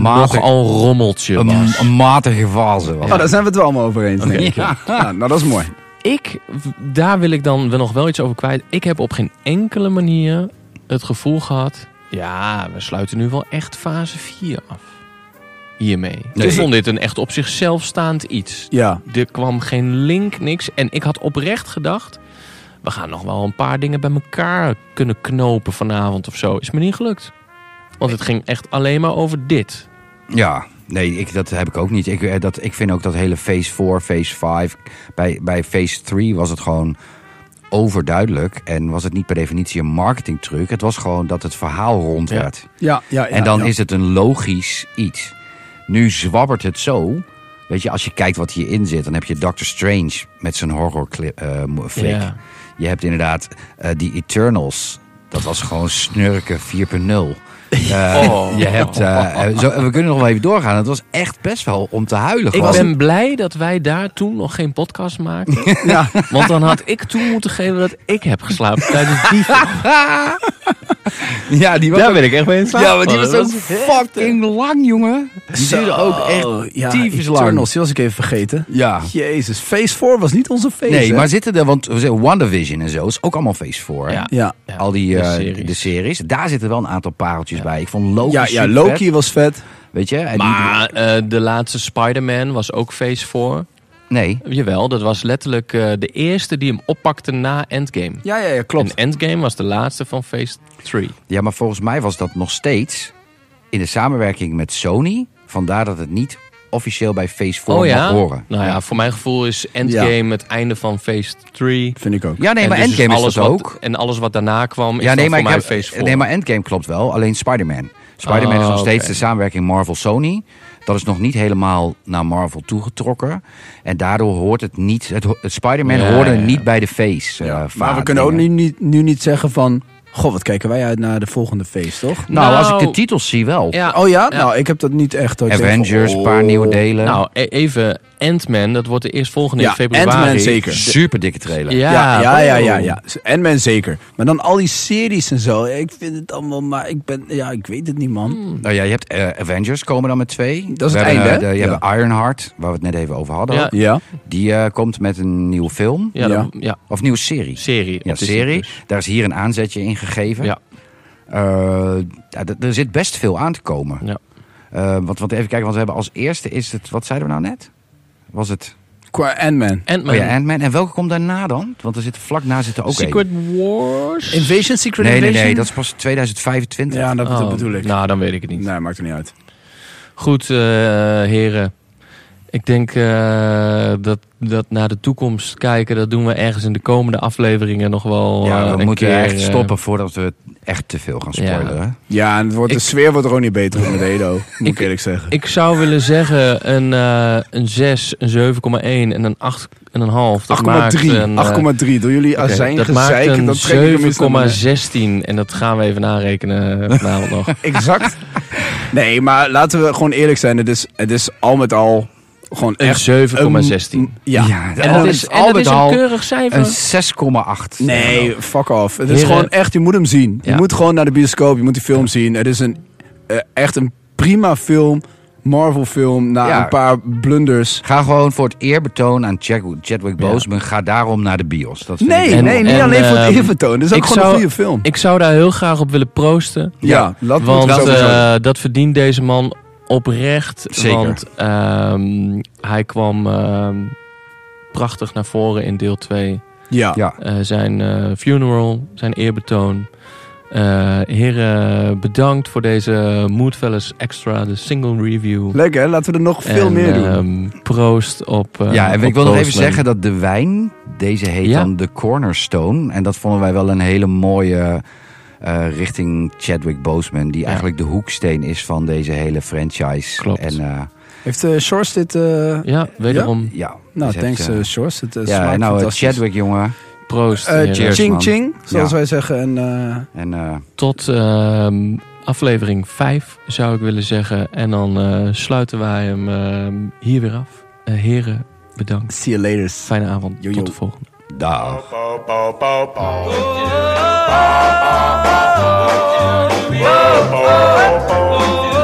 [SPEAKER 5] matig-
[SPEAKER 3] nogal rommeltje was.
[SPEAKER 5] een, een matige fase. was
[SPEAKER 4] Oh,
[SPEAKER 5] het.
[SPEAKER 4] daar zijn we het wel allemaal over eens. denk ik.
[SPEAKER 5] Ja.
[SPEAKER 4] Ja, nou, dat is mooi.
[SPEAKER 3] Ik, daar wil ik dan wel nog wel iets over kwijt. Ik heb op geen enkele manier het gevoel gehad... Ja, we sluiten nu wel echt fase 4 af. Hiermee.
[SPEAKER 5] Nee.
[SPEAKER 3] Ik vond dit een echt op zichzelf staand iets.
[SPEAKER 4] Ja.
[SPEAKER 3] Er kwam geen link, niks. En ik had oprecht gedacht... we gaan nog wel een paar dingen bij elkaar kunnen knopen vanavond of zo. Is me niet gelukt. Want het ging echt alleen maar over dit.
[SPEAKER 5] Ja, nee, ik, dat heb ik ook niet. Ik, eh, dat, ik vind ook dat hele phase 4, phase 5. Bij, bij phase 3 was het gewoon overduidelijk. En was het niet per definitie een marketingtruc. Het was gewoon dat het verhaal rond
[SPEAKER 3] Ja.
[SPEAKER 5] werd.
[SPEAKER 4] Ja, ja, ja
[SPEAKER 5] en dan
[SPEAKER 4] ja.
[SPEAKER 5] is het een logisch iets. Nu zwabbert het zo. Weet je, als je kijkt wat hierin zit, dan heb je Doctor Strange met zijn horrorflik. flick.
[SPEAKER 3] Ja.
[SPEAKER 5] Je hebt inderdaad eh, die Eternals. Dat was gewoon snurken 4.0. Eh, Je hebt, eh, eh, zo, we kunnen nog wel even doorgaan. Het was echt best wel om te huilen.
[SPEAKER 3] Ik
[SPEAKER 5] gewoon.
[SPEAKER 3] ben blij dat wij daar toen nog geen podcast maakten.
[SPEAKER 4] Ja.
[SPEAKER 3] Want dan had ik toe moeten geven dat ik heb geslapen tijdens die film.
[SPEAKER 5] Ja, die was,
[SPEAKER 3] ben ik echt mee in
[SPEAKER 5] ja, maar die was ook fucking lang, jongen. Die duurde ook echt
[SPEAKER 4] Oh, ja,
[SPEAKER 5] tyfus lang.
[SPEAKER 4] Eternals, die was ik even vergeten.
[SPEAKER 5] Ja.
[SPEAKER 4] Jezus, Phase 4 was niet onze face.
[SPEAKER 5] Nee,
[SPEAKER 4] hè?
[SPEAKER 5] maar zitten er, want we zeggen WandaVision en zo is ook allemaal face voor. hè?
[SPEAKER 3] Ja.
[SPEAKER 4] Ja,
[SPEAKER 3] Ja,
[SPEAKER 5] Al die
[SPEAKER 3] de
[SPEAKER 5] eh, de, series.
[SPEAKER 3] series.
[SPEAKER 5] Daar zitten wel een aantal pareltjes bij. Ik vond Loki
[SPEAKER 4] ja, ja
[SPEAKER 5] supervet,
[SPEAKER 4] Loki was vet.
[SPEAKER 5] Weet je? En die-
[SPEAKER 3] Maar eh, de laatste Spider-Man was ook Phase 4.
[SPEAKER 5] nee.
[SPEAKER 3] Jawel, dat was letterlijk eh, de eerste die hem oppakte na Endgame.
[SPEAKER 4] Ja, ja, ja
[SPEAKER 3] En Endgame was de laatste van Phase 3.
[SPEAKER 5] Ja, maar volgens mij was dat nog steeds in de samenwerking met Sony. Vandaar dat het niet officieel bij Phase 4
[SPEAKER 3] oh ja?
[SPEAKER 5] mag horen.
[SPEAKER 3] Nou ja, voor mijn gevoel is Endgame het einde van Phase 3.
[SPEAKER 4] Vind ik ook.
[SPEAKER 5] Ja, nee,
[SPEAKER 3] En
[SPEAKER 5] maar
[SPEAKER 3] dus
[SPEAKER 5] Endgame is dat
[SPEAKER 3] wat,
[SPEAKER 5] ook.
[SPEAKER 3] En alles wat daarna kwam is
[SPEAKER 5] Ja,
[SPEAKER 3] dan
[SPEAKER 5] nee, maar,
[SPEAKER 3] voor
[SPEAKER 5] ik
[SPEAKER 3] mij
[SPEAKER 5] heb,
[SPEAKER 3] Phase 4.
[SPEAKER 5] nee, maar Endgame klopt wel. Alleen Spider-Man. Spider-Man is
[SPEAKER 3] Ah,
[SPEAKER 5] nog steeds
[SPEAKER 3] oké.
[SPEAKER 5] de samenwerking Marvel-Sony. Dat is nog niet helemaal naar Marvel toegetrokken. En daardoor hoort het niet... Het, ho- het Spider-Man
[SPEAKER 3] Ja,
[SPEAKER 5] hoorde
[SPEAKER 3] ja, ja.
[SPEAKER 5] niet bij de Phase. eh,
[SPEAKER 4] maar
[SPEAKER 5] vaat
[SPEAKER 4] we kunnen ook
[SPEAKER 5] dingen.
[SPEAKER 4] nu niet, nu niet zeggen van... Goh, wat kijken wij uit naar de volgende feest, toch?
[SPEAKER 5] Nou, als ik
[SPEAKER 3] Nou,
[SPEAKER 5] de titels zie wel.
[SPEAKER 3] Ja,
[SPEAKER 4] Oh ja? Nou, ik heb dat niet echt. dat ik zeg van,
[SPEAKER 5] Avengers, een
[SPEAKER 4] oh.
[SPEAKER 5] paar nieuwe delen.
[SPEAKER 3] Nou, e- even Ant-Man, dat wordt de eerstvolgende
[SPEAKER 4] Ja,
[SPEAKER 3] in februari.
[SPEAKER 4] Ant-Man zeker.
[SPEAKER 5] super dikke trailer.
[SPEAKER 3] Ja,
[SPEAKER 4] Ja, ja, ja,
[SPEAKER 3] oh.
[SPEAKER 4] ja, ja. En men zeker. Maar dan al die series en zo. Ik vind het allemaal, maar ik ben, ja, ik weet het niet, man.
[SPEAKER 5] Nou ja, je hebt eh, Avengers komen dan met twee.
[SPEAKER 4] Dat is
[SPEAKER 5] We
[SPEAKER 4] het
[SPEAKER 5] hebben,
[SPEAKER 4] einde,
[SPEAKER 5] eh,
[SPEAKER 4] hè?
[SPEAKER 5] de- je
[SPEAKER 4] Ja.
[SPEAKER 5] hebt Ironheart, waar we het net even over hadden.
[SPEAKER 3] Ja.
[SPEAKER 5] ook.
[SPEAKER 4] Ja.
[SPEAKER 5] Die eh, komt met een nieuwe film.
[SPEAKER 3] Ja, dan- ja,
[SPEAKER 5] Of nieuwe serie.
[SPEAKER 3] serie.
[SPEAKER 5] Ja,
[SPEAKER 3] op Disney+.
[SPEAKER 5] serie. Daar is hier een aanzetje in gegeven.
[SPEAKER 3] Ja.
[SPEAKER 5] Eh, ja, d- er zit best veel aan te komen.
[SPEAKER 3] Ja.
[SPEAKER 5] Eh, want, want even kijken, want we hebben als eerste is het... Wat zeiden we nou net? Was het
[SPEAKER 4] Qua Ant-Man.
[SPEAKER 3] Ant-Man.
[SPEAKER 5] oh ja, Ant-Man? En welke komt daarna dan? Want er zit vlak na zit er ook één.
[SPEAKER 3] Secret Wars?
[SPEAKER 4] Invasion, Secret
[SPEAKER 5] Nee, nee,
[SPEAKER 4] Invasion?
[SPEAKER 5] nee, dat is pas 2025.
[SPEAKER 4] Ja, dat, dat
[SPEAKER 3] Oh,
[SPEAKER 4] bedoel ik.
[SPEAKER 3] Nou, dan weet ik het niet.
[SPEAKER 4] Nee, maakt er niet uit.
[SPEAKER 3] Goed, eh, heren. Ik denk eh, dat, dat naar de toekomst kijken, dat doen we ergens in de komende afleveringen nog wel.
[SPEAKER 5] Ja,
[SPEAKER 3] eh,
[SPEAKER 5] we
[SPEAKER 3] een
[SPEAKER 5] moeten
[SPEAKER 3] keer,
[SPEAKER 5] echt
[SPEAKER 3] eh,
[SPEAKER 5] stoppen voordat we echt te veel gaan spoileren.
[SPEAKER 3] Ja.
[SPEAKER 4] Ja, en het wordt,
[SPEAKER 3] Ik-
[SPEAKER 4] de sfeer wordt er ook niet beter op met Edo. Moet ik
[SPEAKER 3] Ik-
[SPEAKER 4] eerlijk zeggen.
[SPEAKER 3] Ik zou willen zeggen een, eh, een 6, een 7,1 en een 8 en een half.
[SPEAKER 4] 8,3. 8,3. Door jullie azijn
[SPEAKER 3] eh, dat maakt
[SPEAKER 4] gezeiken, dan trek ik hem eens naar beneden.
[SPEAKER 3] een 7,16 en dat gaan we even narekenen vanavond nog.
[SPEAKER 4] Exact. Nee, maar laten we gewoon eerlijk zijn. Het is, het is al met al gewoon
[SPEAKER 3] Een
[SPEAKER 4] echt...
[SPEAKER 3] 7,16.
[SPEAKER 4] een- Ja.
[SPEAKER 3] en dat is, en dat is een keurig cijfer.
[SPEAKER 5] een 6,8.
[SPEAKER 4] Nee, fuck off. Het is
[SPEAKER 3] Heren.
[SPEAKER 4] gewoon echt, je moet hem zien. Je
[SPEAKER 3] Ja.
[SPEAKER 4] moet gewoon naar de bioscoop, je moet die film zien. Het is een, eh, echt een prima film. Marvel film, na
[SPEAKER 5] Ja.
[SPEAKER 4] een paar blunders.
[SPEAKER 5] Ga gewoon voor het eerbetoon aan Chad- Chadwick Boseman. Ga daarom naar de bios. Dat vind
[SPEAKER 4] Nee,
[SPEAKER 5] ik-
[SPEAKER 3] En-
[SPEAKER 4] nee, niet
[SPEAKER 3] en,
[SPEAKER 4] alleen voor het
[SPEAKER 3] ehm,
[SPEAKER 4] eervertoon. Het is ook
[SPEAKER 3] ik
[SPEAKER 4] gewoon een
[SPEAKER 3] zou-
[SPEAKER 4] goede film.
[SPEAKER 3] Ik zou daar heel graag op willen proosten.
[SPEAKER 4] ja, dat
[SPEAKER 3] Want
[SPEAKER 4] moet sowieso.
[SPEAKER 3] eh, dat verdient deze man oprecht.
[SPEAKER 5] Zeker.
[SPEAKER 3] Want ehm, hij kwam ehm, prachtig naar voren in deel 2.
[SPEAKER 4] Ja.
[SPEAKER 5] Ja,
[SPEAKER 3] Eh, zijn eh, funeral, zijn eerbetoon. Eh, heren, bedankt voor deze Moodfellas Extra, de single review.
[SPEAKER 4] Leuk hè? Laten we er nog veel
[SPEAKER 3] En,
[SPEAKER 4] meer doen.
[SPEAKER 3] ehm, proost op. eh,
[SPEAKER 5] ja en
[SPEAKER 3] op
[SPEAKER 5] ik wil nog even
[SPEAKER 3] Postman.
[SPEAKER 5] zeggen dat de wijn, deze heet
[SPEAKER 3] Ja.
[SPEAKER 5] dan de Cornerstone. En dat vonden wij wel een hele mooie eh, richting Chadwick Boseman. Die
[SPEAKER 3] Ja.
[SPEAKER 5] eigenlijk de hoeksteen is van deze hele franchise.
[SPEAKER 3] Klopt.
[SPEAKER 5] En eh,
[SPEAKER 4] Heeft eh Shores dit... eh,
[SPEAKER 3] Ja, wederom
[SPEAKER 5] ja,
[SPEAKER 4] Nou,
[SPEAKER 5] dus
[SPEAKER 4] thanks
[SPEAKER 5] heeft, eh,
[SPEAKER 4] eh, Shores. Het eh,
[SPEAKER 5] ja,
[SPEAKER 4] smaakt
[SPEAKER 5] en nou, eh,
[SPEAKER 4] fantastisch.
[SPEAKER 5] Chadwick, jongen.
[SPEAKER 3] proost.
[SPEAKER 4] Eh,
[SPEAKER 3] heren.
[SPEAKER 5] cheers.
[SPEAKER 4] ching
[SPEAKER 5] man.
[SPEAKER 4] ching, zoals
[SPEAKER 5] Ja.
[SPEAKER 4] wij zeggen. En, eh,
[SPEAKER 5] En eh,
[SPEAKER 3] Tot ehm, aflevering 5 zou ik willen zeggen. En dan eh, sluiten wij hem ehm, hier weer af. Eh, heren, bedankt.
[SPEAKER 4] see you later.
[SPEAKER 3] Fijne avond.
[SPEAKER 4] Yo, yo.
[SPEAKER 3] Tot de volgende.
[SPEAKER 5] daar.
[SPEAKER 2] Bow, bow, bow, bow.